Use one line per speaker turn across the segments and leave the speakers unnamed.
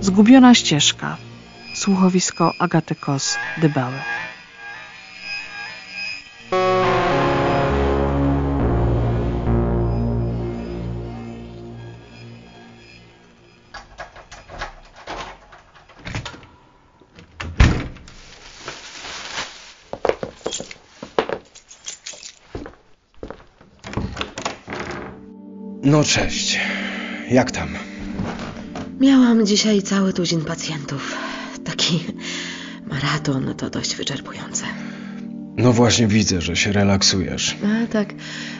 Zgubiona ścieżka. Słuchowisko Agaty Kos, Dybały.
No cześć. Jak tam?
Miałam dzisiaj cały tuzin pacjentów. Taki maraton to dość wyczerpujące.
No właśnie widzę, że się relaksujesz.
A tak,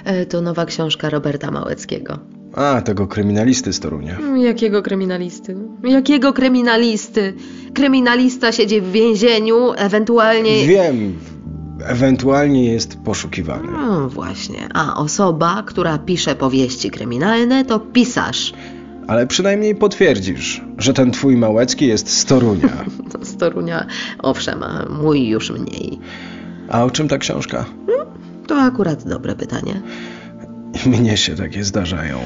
e, to nowa książka Roberta Małeckiego.
A, tego kryminalisty z Torunia.
Mm, Jakiego kryminalisty? Jakiego kryminalisty? Kryminalista siedzi w więzieniu, ewentualnie.
Wiem, ewentualnie jest poszukiwany.
No właśnie, a osoba, która pisze powieści kryminalne, to pisarz.
Ale przynajmniej potwierdzisz, że ten twój Małecki jest z Torunia.
No, Z Torunia, owszem, a mój już mniej.
A o czym ta książka?
To akurat dobre pytanie.
Mnie się takie zdarzają.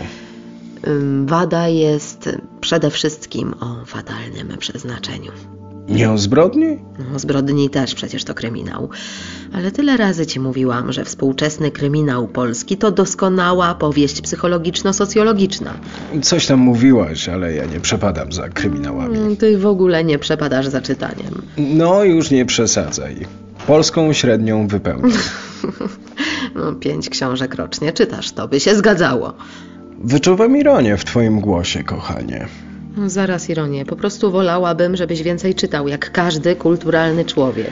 Ym, Wada jest przede wszystkim o fatalnym przeznaczeniu.
Nie o zbrodni?
No, zbrodni też przecież to kryminał. Ale tyle razy ci mówiłam, że współczesny kryminał polski to doskonała powieść psychologiczno-socjologiczna.
Coś tam mówiłaś, ale ja nie przepadam za kryminałami.
Mm, Ty w ogóle nie przepadasz za czytaniem.
No już nie przesadzaj. Polską średnią wypełnię.
No, pięć książek rocznie czytasz, to by się zgadzało.
Wyczuwam ironię w twoim głosie, kochanie.
No, Zaraz ironię, po prostu wolałabym, żebyś więcej czytał, jak każdy kulturalny człowiek.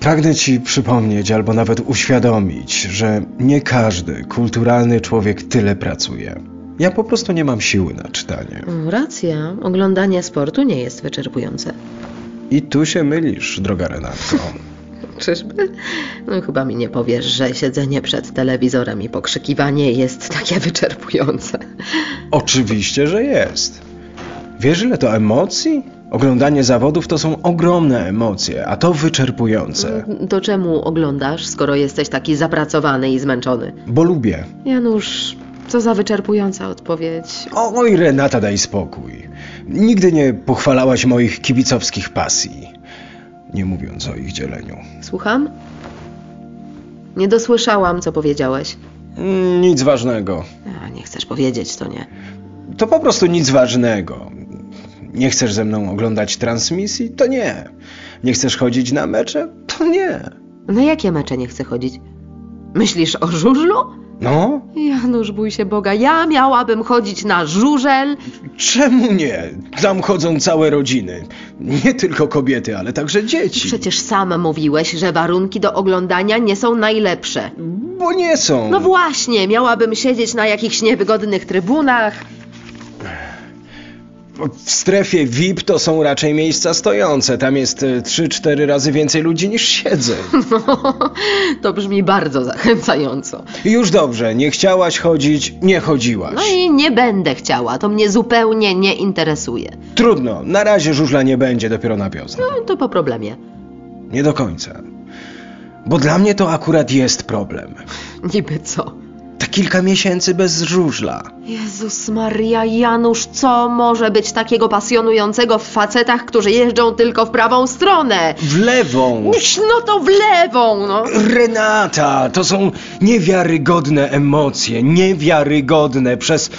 Pragnę ci przypomnieć albo nawet uświadomić, że nie każdy kulturalny człowiek tyle pracuje. Ja po prostu nie mam siły na czytanie.
Mm, Racja, oglądanie sportu nie jest wyczerpujące.
I tu się mylisz, droga Renatko.
Czyżby? No chyba mi nie powiesz, że siedzenie przed telewizorem i pokrzykiwanie jest takie wyczerpujące.
Oczywiście, że jest. Wiesz, ile to emocji? Oglądanie zawodów to są ogromne emocje, a to wyczerpujące.
To czemu oglądasz, skoro jesteś taki zapracowany i zmęczony?
Bo lubię.
Janusz, co za wyczerpująca odpowiedź.
O, oj, Renata, daj spokój. Nigdy nie pochwalałaś moich kibicowskich pasji. Nie mówiąc o ich dzieleniu.
Słucham? Nie dosłyszałam, co powiedziałeś.
Mm, Nic ważnego.
A, nie chcesz powiedzieć, to nie.
To po prostu nic ważnego. Nie chcesz ze mną oglądać transmisji? To nie. Nie chcesz chodzić na mecze? To nie.
Na jakie mecze nie chcę chodzić? Myślisz o żużlu?
No?
Janusz, bój się Boga, ja miałabym chodzić na żużel.
Czemu nie? Tam chodzą całe rodziny. Nie tylko kobiety, ale także dzieci.
Przecież sam mówiłeś, że warunki do oglądania nie są najlepsze.
Bo nie są.
No właśnie, miałabym siedzieć na jakichś niewygodnych trybunach.
W strefie VIP to są raczej miejsca stojące. Tam jest 3-4 razy więcej ludzi niż siedzę.
to brzmi bardzo zachęcająco.
Już dobrze, nie chciałaś chodzić, nie chodziłaś.
No i nie będę chciała, to mnie zupełnie nie interesuje.
Trudno, na razie żużla nie będzie, dopiero na wiosnę.
No to po problemie.
Nie do końca. Bo dla mnie to akurat jest problem.
Niby co?
Te kilka miesięcy bez żużla.
Jezus Maria, Janusz, co może być takiego pasjonującego w facetach, którzy jeżdżą tylko w prawą stronę?
W lewą.
Uś, no to w lewą, no.
Renata, to są niewiarygodne emocje, niewiarygodne. Przez,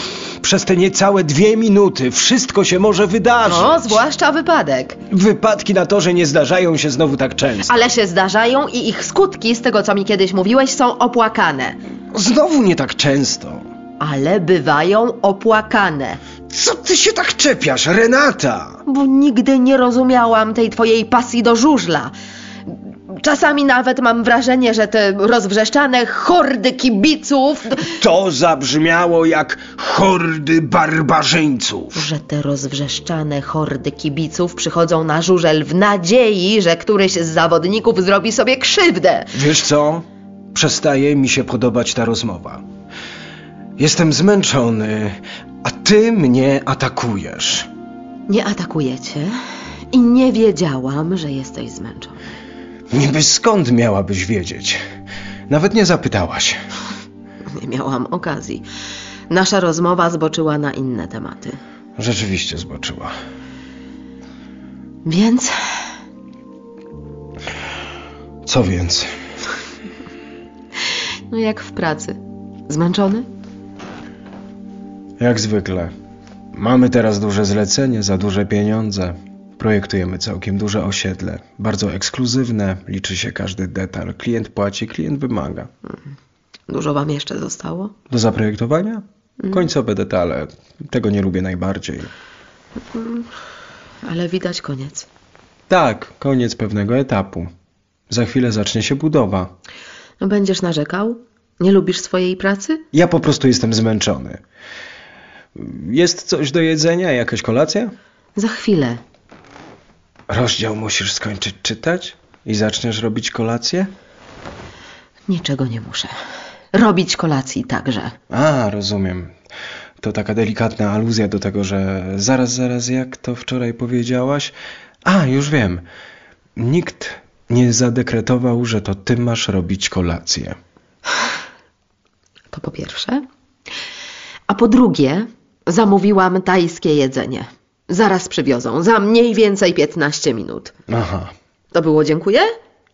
przez te niecałe dwie minuty wszystko się może wydarzyć.
No, zwłaszcza wypadek.
Wypadki na torze nie zdarzają się znowu tak często.
Ale się zdarzają i ich skutki, z tego co mi kiedyś mówiłeś, są opłakane.
Znowu nie tak często.
Ale bywają opłakane.
Co ty się tak czepiasz, Renata?
Bo nigdy nie rozumiałam tej twojej pasji do żużla. Czasami nawet mam wrażenie, że te rozwrzeszczane hordy kibiców,
To zabrzmiało jak hordy barbarzyńców.
że te rozwrzeszczane hordy kibiców przychodzą na żużel w nadziei, że któryś z zawodników zrobi sobie krzywdę.
Wiesz co? Przestaje mi się podobać ta rozmowa. Jestem zmęczony, a ty mnie atakujesz.
Nie atakujecie i nie wiedziałam, że jesteś zmęczony.
Niby skąd miałabyś wiedzieć? Nawet nie zapytałaś.
Nie miałam okazji. Nasza rozmowa zboczyła na inne tematy.
Rzeczywiście zboczyła.
Więc
Co więc?
No jak w pracy. Zmęczony?
Jak zwykle. Mamy teraz duże zlecenie, za duże pieniądze. Projektujemy całkiem duże osiedle. Bardzo ekskluzywne, liczy się każdy detal. Klient płaci, klient wymaga.
Dużo wam jeszcze zostało?
Do zaprojektowania? Końcowe detale. Tego nie lubię najbardziej.
Ale widać koniec.
Tak, koniec pewnego etapu. Za chwilę zacznie się budowa.
No będziesz narzekał? Nie lubisz swojej pracy?
Ja po prostu jestem zmęczony. Jest coś do jedzenia, jakaś kolacja?
Za chwilę.
Rozdział musisz skończyć czytać i zaczniesz robić kolację?
Niczego nie muszę. Robić kolacji także.
A, rozumiem. To taka delikatna aluzja do tego, że zaraz, zaraz, jak to wczoraj powiedziałaś? A, już wiem. Nikt nie zadekretował, że to ty masz robić kolację.
To po pierwsze. A po drugie, zamówiłam tajskie jedzenie. Zaraz przywiozą, za mniej więcej 15 minut.
Aha,
To było dziękuję?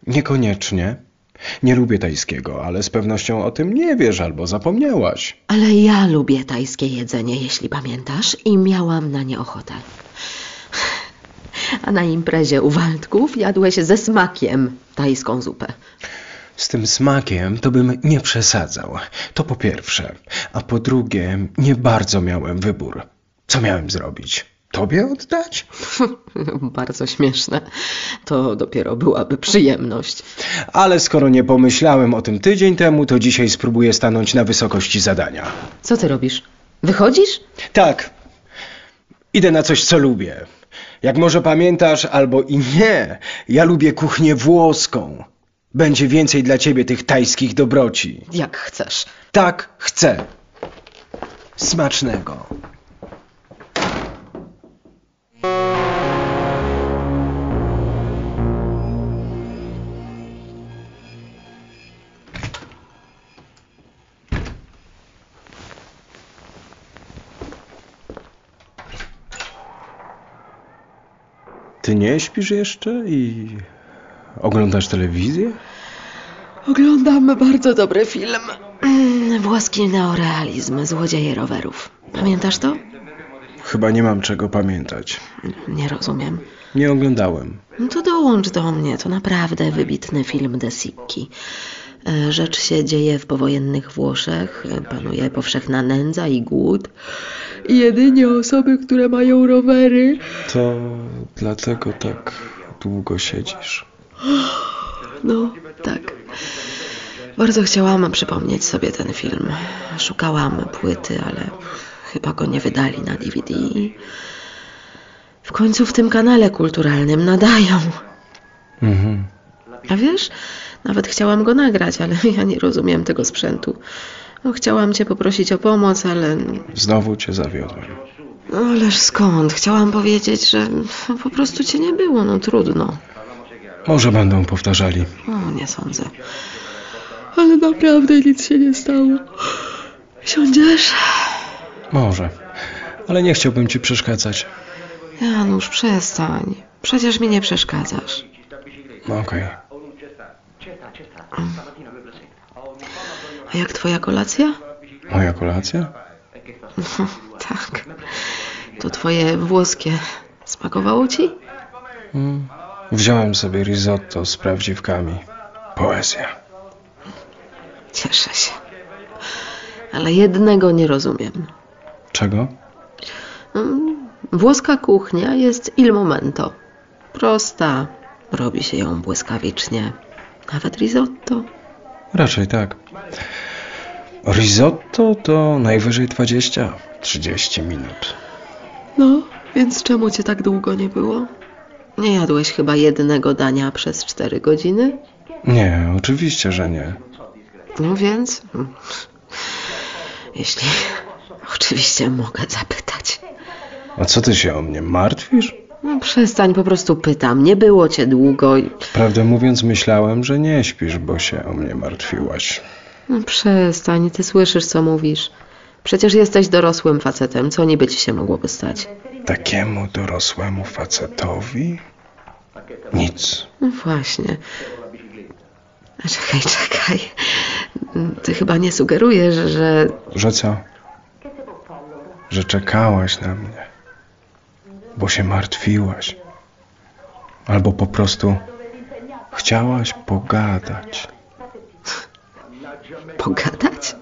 niekoniecznie. Nie lubię tajskiego, ale z pewnością o tym nie wiesz albo zapomniałaś.
Ale ja lubię tajskie jedzenie, jeśli pamiętasz, i miałam na nie ochotę. A na imprezie u Waldków jadłeś ze smakiem tajską zupę.
Z tym smakiem to bym nie przesadzał. To po pierwsze. A po drugie, nie bardzo miałem wybór. Co miałem zrobić? Tobie oddać?
Bardzo śmieszne. To dopiero byłaby przyjemność.
Ale skoro nie pomyślałem o tym tydzień temu, to dzisiaj spróbuję stanąć na wysokości zadania.
Co ty robisz? Wychodzisz?
Tak, idę na coś, co lubię. Jak może pamiętasz, albo i nie, ja lubię kuchnię włoską. Będzie więcej dla ciebie tych tajskich dobroci.
Jak chcesz.
Tak chcę. Smacznego. Ty nie śpisz jeszcze i oglądasz telewizję?
Oglądam bardzo dobry film. Mm, Włoski neorealizm, złodzieje rowerów. Pamiętasz to?
Chyba nie mam czego pamiętać.
Nie rozumiem.
Nie oglądałem.
No to dołącz do mnie, to naprawdę wybitny film De Sicchi. E, Rzecz się dzieje w powojennych Włoszech, e, panuje powszechna nędza i głód. I Jedynie osoby, które mają rowery,
To dlatego tak długo siedzisz.
No, tak. Bardzo chciałam przypomnieć sobie ten film. Szukałam płyty, ale chyba go nie wydali na DVD. W końcu w tym kanale kulturalnym nadają.
Mhm.
A wiesz, nawet chciałam go nagrać, ale ja nie rozumiem tego sprzętu. No, chciałam cię poprosić o pomoc, ale.
Znowu cię zawiodłem.
No, ależ skąd? Chciałam powiedzieć, że no, po prostu cię nie było, no trudno.
Może będą powtarzali.
O, nie sądzę. Ale naprawdę nic się nie stało. Siądziesz?
Może. Ale nie chciałbym ci przeszkadzać.
Janusz, przestań. Przecież mi nie przeszkadzasz.
No Okej.
A jak twoja kolacja?
Moja kolacja?
No, tak. To twoje włoskie. Smakowało ci?
Mm. Wziąłem sobie risotto z prawdziwkami. Poezja.
Cieszę się. Ale jednego nie rozumiem.
Czego?
Mm, Włoska kuchnia jest il momento. Prosta. Robi się ją błyskawicznie. Nawet risotto.
Raczej tak. Risotto to najwyżej 20-30 minut.
No, więc czemu cię tak długo nie było? Nie jadłeś chyba jednego dania przez cztery godziny?
Nie, oczywiście, że nie.
No więc. mm, Jeśli. Oczywiście mogę zapytać.
A co ty się o mnie martwisz?
No przestań, po prostu pytam. Nie było cię długo. i-
Prawdę mówiąc, myślałem, że nie śpisz, bo się o mnie martwiłaś.
No przestań, ty słyszysz, co mówisz. Przecież jesteś dorosłym facetem, co niby ci się mogłoby stać?
Takiemu dorosłemu facetowi Nic.
No właśnie. Czekaj, czekaj. Ty chyba nie sugerujesz, że
Że co? Że czekałaś na mnie. Bo się martwiłaś. Albo po prostu chciałaś pogadać.
pogadać?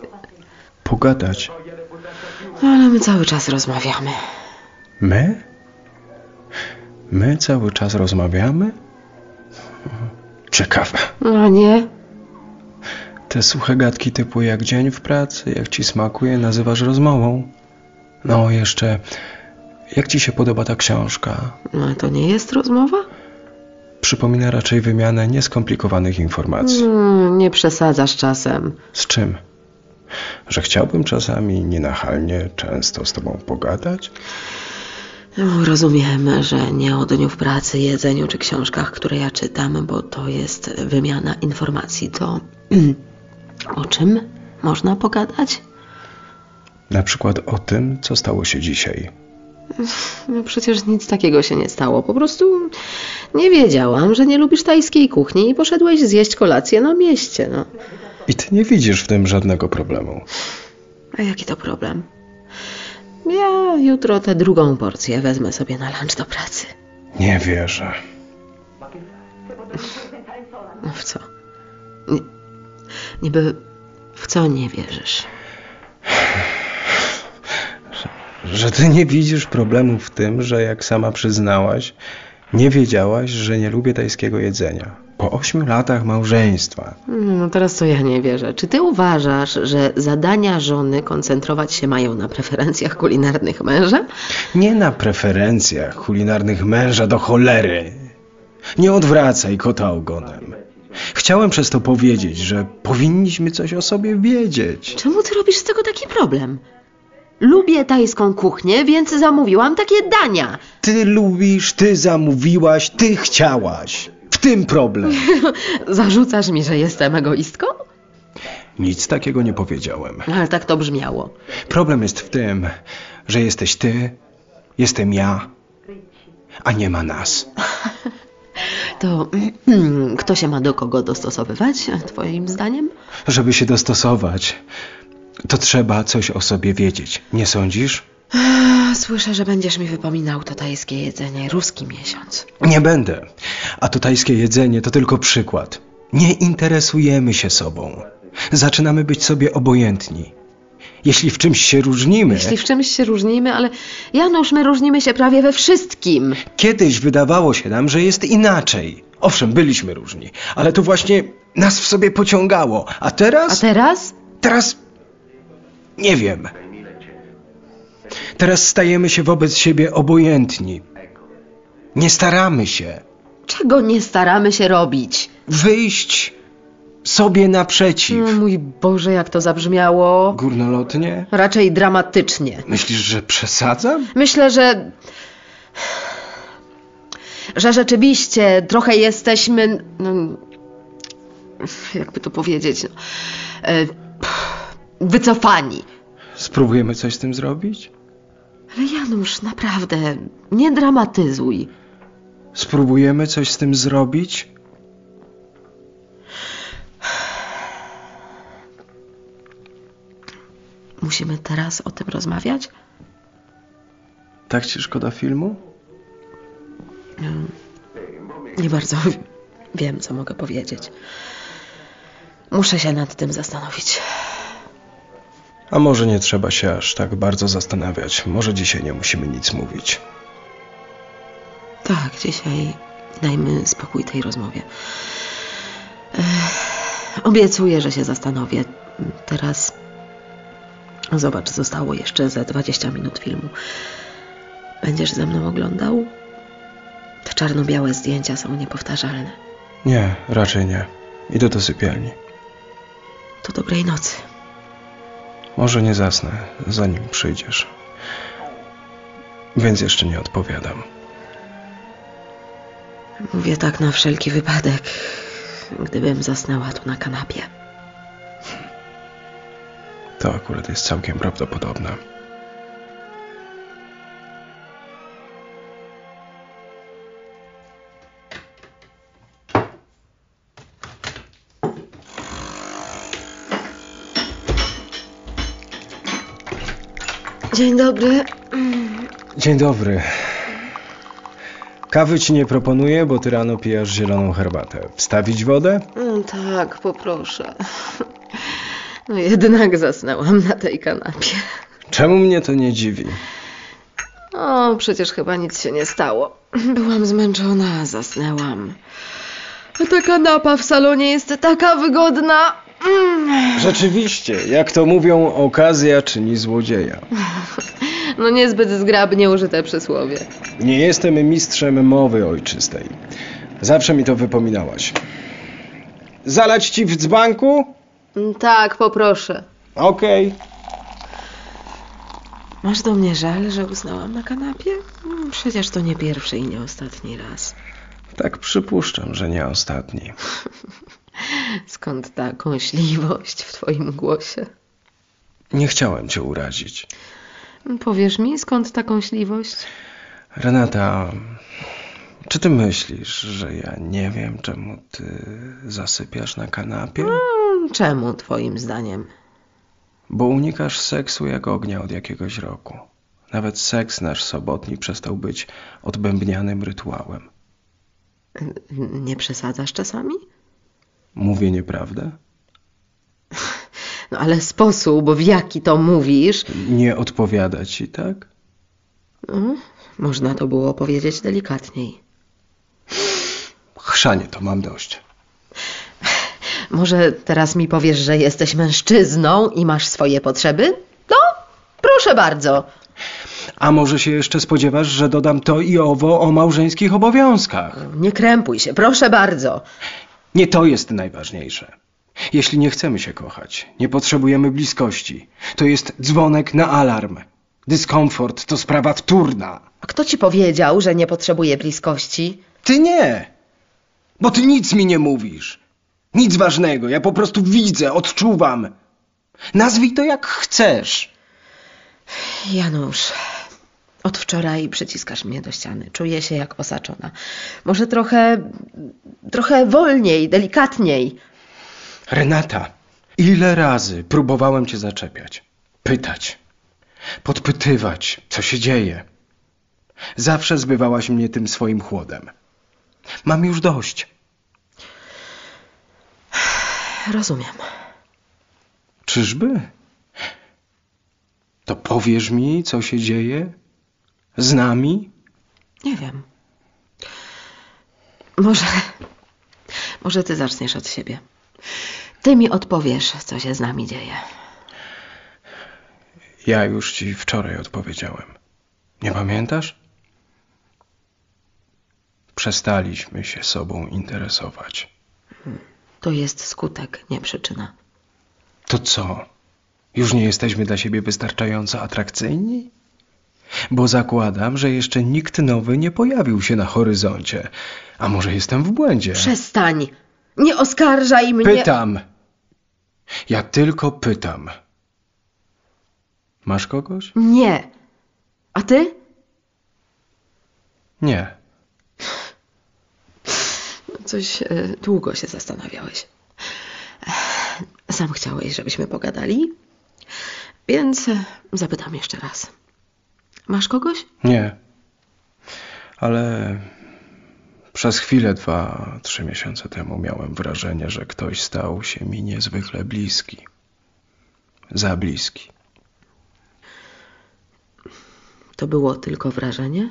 Pogadać.
No ale my cały czas rozmawiamy.
My? My cały czas rozmawiamy? Ciekawe.
No A nie?
Te suche gadki typu jak dzień w pracy, jak ci smakuje, nazywasz rozmową. No jeszcze, jak ci się podoba ta książka?
No, to nie jest rozmowa?
Przypomina raczej wymianę nieskomplikowanych informacji.
Mm, nie przesadzasz czasem.
Z czym? Że chciałbym czasami nienachalnie często z tobą pogadać?
No, rozumiem, że nie o dniu w pracy, jedzeniu czy książkach, które ja czytam, bo to jest wymiana informacji. To o czym można pogadać?
Na przykład o tym, co stało się dzisiaj.
No przecież nic takiego się nie stało. Po prostu nie wiedziałam, że nie lubisz tajskiej kuchni i poszedłeś zjeść kolację na mieście. No.
I ty nie widzisz w tym żadnego problemu.
A jaki to problem? Ja jutro tę drugą porcję wezmę sobie na lunch do pracy.
Nie wierzę.
No w co? Nie, niby w co nie wierzysz?
Że ty nie widzisz problemu w tym, że jak sama przyznałaś, nie wiedziałaś, że nie lubię tajskiego jedzenia. Po ośmiu latach małżeństwa.
No teraz to ja nie wierzę. Czy ty uważasz, że zadania żony koncentrować się mają na preferencjach kulinarnych męża?
Nie na preferencjach kulinarnych męża do cholery. Nie odwracaj kota ogonem. Chciałem przez to powiedzieć, że powinniśmy coś o sobie wiedzieć.
Czemu ty robisz z tego taki problem? Lubię tajską kuchnię, więc zamówiłam takie dania.
Ty lubisz, ty zamówiłaś, ty chciałaś. W tym problem.
Zarzucasz mi, że jestem egoistką?
Nic takiego nie powiedziałem.
No, Ale tak to brzmiało.
Problem jest w tym, że jesteś ty, jestem ja, a nie ma nas.
To kto się ma do kogo dostosowywać, twoim zdaniem?
Żeby się dostosować, to trzeba coś o sobie wiedzieć, nie sądzisz?
Słyszę, że będziesz mi wypominał to tajskie jedzenie, ruski miesiąc.
Nie będę. A to tajskie jedzenie to tylko przykład. Nie interesujemy się sobą. Zaczynamy być sobie obojętni. Jeśli w czymś się różnimy,
Jeśli w czymś się różnimy, ale Janusz, my różnimy się prawie we wszystkim.
kiedyś wydawało się nam, że jest inaczej. Owszem, byliśmy różni, ale to właśnie nas w sobie pociągało. A teraz?
A teraz?
Teraz nie wiem. Teraz stajemy się wobec siebie obojętni. Nie staramy się
Czego nie staramy się robić?
wyjść sobie naprzeciw.
No mój Boże, jak to zabrzmiało.
Górnolotnie?
Raczej dramatycznie.
Myślisz, że przesadzam?
Myślę, że. że rzeczywiście trochę jesteśmy. No, jakby to powiedzieć. No, e, pff, wycofani.
Spróbujemy coś z tym zrobić?
Ale Janusz, naprawdę, nie dramatyzuj.
Spróbujemy coś z tym zrobić?
Musimy teraz o tym rozmawiać?
Tak ci szkoda filmu?
Nie bardzo wiem, co mogę powiedzieć. Muszę się nad tym zastanowić.
A może nie trzeba się aż tak bardzo zastanawiać. Może dzisiaj nie musimy nic mówić.
Tak, dzisiaj dajmy spokój tej rozmowie. Ech, obiecuję, że się zastanowię. Teraz zobacz, zostało jeszcze ze 20 minut filmu. Będziesz ze mną oglądał? Te czarno-białe zdjęcia są niepowtarzalne.
Nie, raczej nie. Idę do sypialni.
To dobrej nocy.
Może nie zasnę, zanim przyjdziesz. Więc jeszcze nie odpowiadam.
Mówię tak na wszelki wypadek, gdybym zasnęła tu na kanapie.
To akurat jest całkiem prawdopodobne.
Dzień dobry.
Dzień dobry. Kawy ci nie proponuję, bo ty rano pijasz zieloną herbatę. Wstawić wodę?
Mm, Tak, poproszę. No jednak zasnęłam na tej kanapie.
Czemu mnie to nie dziwi?
O, przecież chyba nic się nie stało. Byłam zmęczona, zasnęłam. A ta kanapa w salonie jest taka wygodna. Mm.
Rzeczywiście, jak to mówią, okazja czyni złodzieja.
No niezbyt zgrabnie użyte przysłowie.
Nie jestem mistrzem mowy ojczystej. Zawsze mi to wypominałaś. Zalać ci w dzbanku?
Mm, Tak, poproszę.
Okej.
Masz do mnie żal, że usnęłam na kanapie? Mm, Przecież to nie pierwszy i nie ostatni raz.
Tak przypuszczam, że nie ostatni.
Skąd ta kąśliwość w twoim głosie?
Nie chciałem cię urazić.
Powiesz mi, skąd ta kąśliwość?
Renata, czy ty myślisz, że ja nie wiem, czemu ty zasypiasz na kanapie?
Mm, Czemu, twoim zdaniem?
Bo unikasz seksu jak ognia od jakiegoś roku. Nawet seks nasz sobotni przestał być odbębnianym rytuałem.
N- Nie przesadzasz czasami?
Mówię nieprawdę?
No ale sposób, w jaki to mówisz,
Nie odpowiada ci, tak?
no, można to było powiedzieć delikatniej.
Chrzanie to mam dość.
Może teraz mi powiesz, że jesteś mężczyzną i masz swoje potrzeby? No, proszę bardzo.
A może się jeszcze spodziewasz, że dodam to i owo o małżeńskich obowiązkach?
Nie krępuj się, proszę bardzo.
Nie to jest najważniejsze. Jeśli nie chcemy się kochać, nie potrzebujemy bliskości, to jest dzwonek na alarm. Dyskomfort to sprawa wtórna.
A kto ci powiedział, że nie potrzebuje bliskości?
Ty nie! Bo ty nic mi nie mówisz. Nic ważnego, ja po prostu widzę, odczuwam. Nazwij to jak chcesz.
Janusz, od wczoraj przyciskasz mnie do ściany. Czuję się jak osaczona. Może trochę, trochę wolniej, delikatniej.
Renata, ile razy próbowałem cię zaczepiać, pytać, podpytywać, co się dzieje. Zawsze zbywałaś mnie tym swoim chłodem. Mam już dość.
Rozumiem.
Czyżby? To powiesz mi, co się dzieje? Z nami?
Nie wiem. Może. Może ty zaczniesz od siebie. Ty mi odpowiesz, co się z nami dzieje.
Ja już ci wczoraj odpowiedziałem. Nie pamiętasz? Przestaliśmy się sobą interesować.
To jest skutek, nie przyczyna.
To co? Już nie jesteśmy dla siebie wystarczająco atrakcyjni? Bo zakładam, że jeszcze nikt nowy nie pojawił się na horyzoncie. A może jestem w błędzie?
Przestań! Nie oskarżaj mnie!
Pytam! Ja tylko pytam. Masz kogoś?
Nie! A ty?
Nie.
Coś e, długo się zastanawiałeś. Ech, Sam chciałeś, żebyśmy pogadali, więc e, zapytam jeszcze raz. Masz kogoś?
Nie. Ale przez chwilę, dwa, trzy miesiące temu miałem wrażenie, że ktoś stał się mi niezwykle bliski. Za bliski.
To było tylko wrażenie?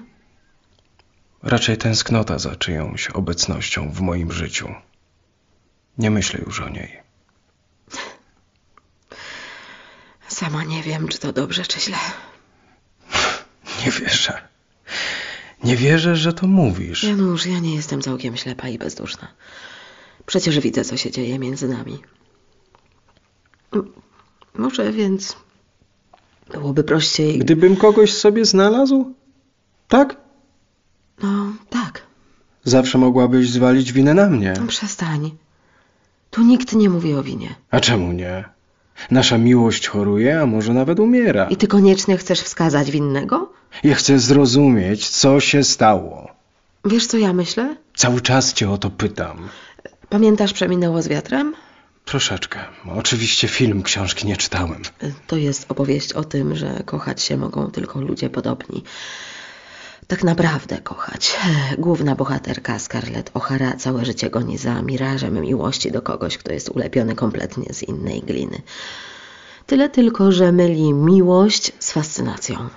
Raczej tęsknota za czyjąś obecnością w moim życiu. Nie myślę już o niej.
Sama nie wiem, czy to dobrze, czy źle.
Nie wierzę. Nie wierzę, że to mówisz.
Janusz, ja nie jestem całkiem ślepa i bezduszna. Przecież widzę, co się dzieje między nami. M- Może więc byłoby prościej.
Gdybym kogoś sobie znalazł? Tak?
No tak,
Zawsze mogłabyś zwalić winę na mnie.
no przestań. Tu nikt nie mówi o winie.
A czemu nie? Nasza miłość choruje, a może nawet umiera.
I ty koniecznie chcesz wskazać winnego?
Ja chcę zrozumieć, co się stało.
Wiesz, co ja myślę?
Cały czas cię o to pytam.
Pamiętasz, przeminęło z wiatrem?
Troszeczkę. Oczywiście film, książki nie czytałem.
To jest opowieść o tym, że kochać się mogą tylko ludzie podobni. Tak naprawdę kochać. Główna bohaterka Scarlett O'Hara całe życie goni za mirażem miłości do kogoś, kto jest ulepiony kompletnie z innej gliny. Tyle tylko, że myli miłość z fascynacją.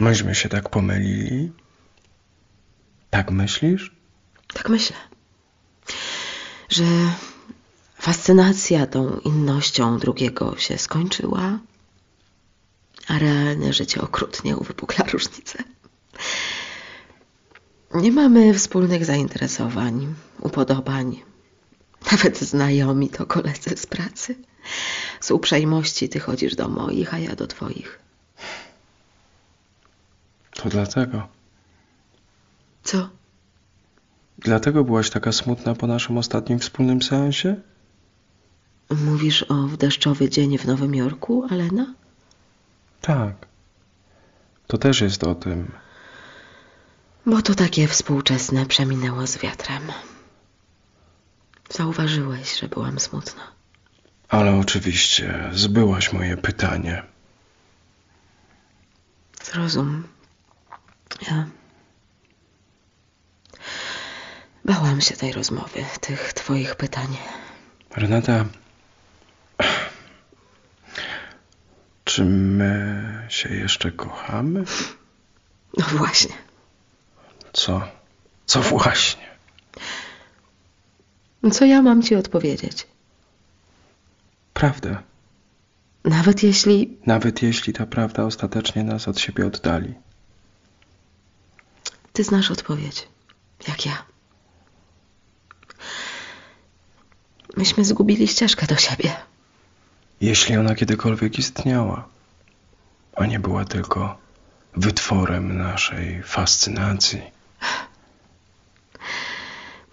Myśmy się tak pomylili. Tak myślisz?
Tak myślę. Że fascynacja tą innością drugiego się skończyła, a realne życie okrutnie uwypukla różnice. Nie mamy wspólnych zainteresowań, upodobań. Nawet znajomi to koledzy z pracy. Z uprzejmości ty chodzisz do moich, a ja do twoich.
To dlatego.
Co?
Dlatego byłaś taka smutna po naszym ostatnim wspólnym seansie?
Mówisz o w deszczowy dzień w Nowym Jorku, Alena?
Tak. To też jest o tym.
Bo to takie współczesne przeminęło z wiatrem. Zauważyłeś, że byłam smutna.
Ale oczywiście zbyłaś moje pytanie.
Zrozum. Ja. Bałam się tej rozmowy, tych twoich pytań.
Renata, czy my się jeszcze kochamy?
No właśnie.
Co? Co właśnie?
Co ja mam ci odpowiedzieć?
Prawdę.
Nawet jeśli
Nawet jeśli ta prawda ostatecznie nas od siebie oddali.
ty znasz odpowiedź, jak ja. Myśmy zgubili ścieżkę do siebie.
Jeśli ona kiedykolwiek istniała, a nie była tylko wytworem naszej fascynacji.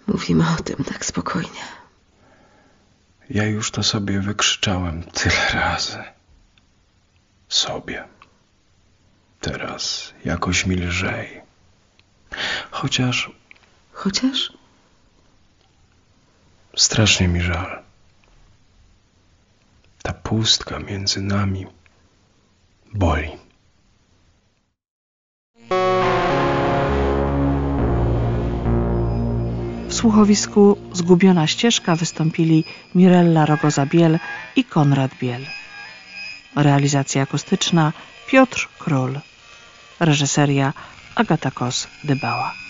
Mówimy o tym tak spokojnie.
Ja już to sobie wykrzyczałem tyle razy. Sobie. Teraz jakoś mi lżej. Chociaż
Chociaż
strasznie mi żal. Ta pustka między nami boli.
W słuchowisku Zgubiona ścieżka wystąpili Mirella Rogoza-Biel i Konrad Biel. Realizacja akustyczna Piotr Król. Reżyseria Agata Kos-Dybała.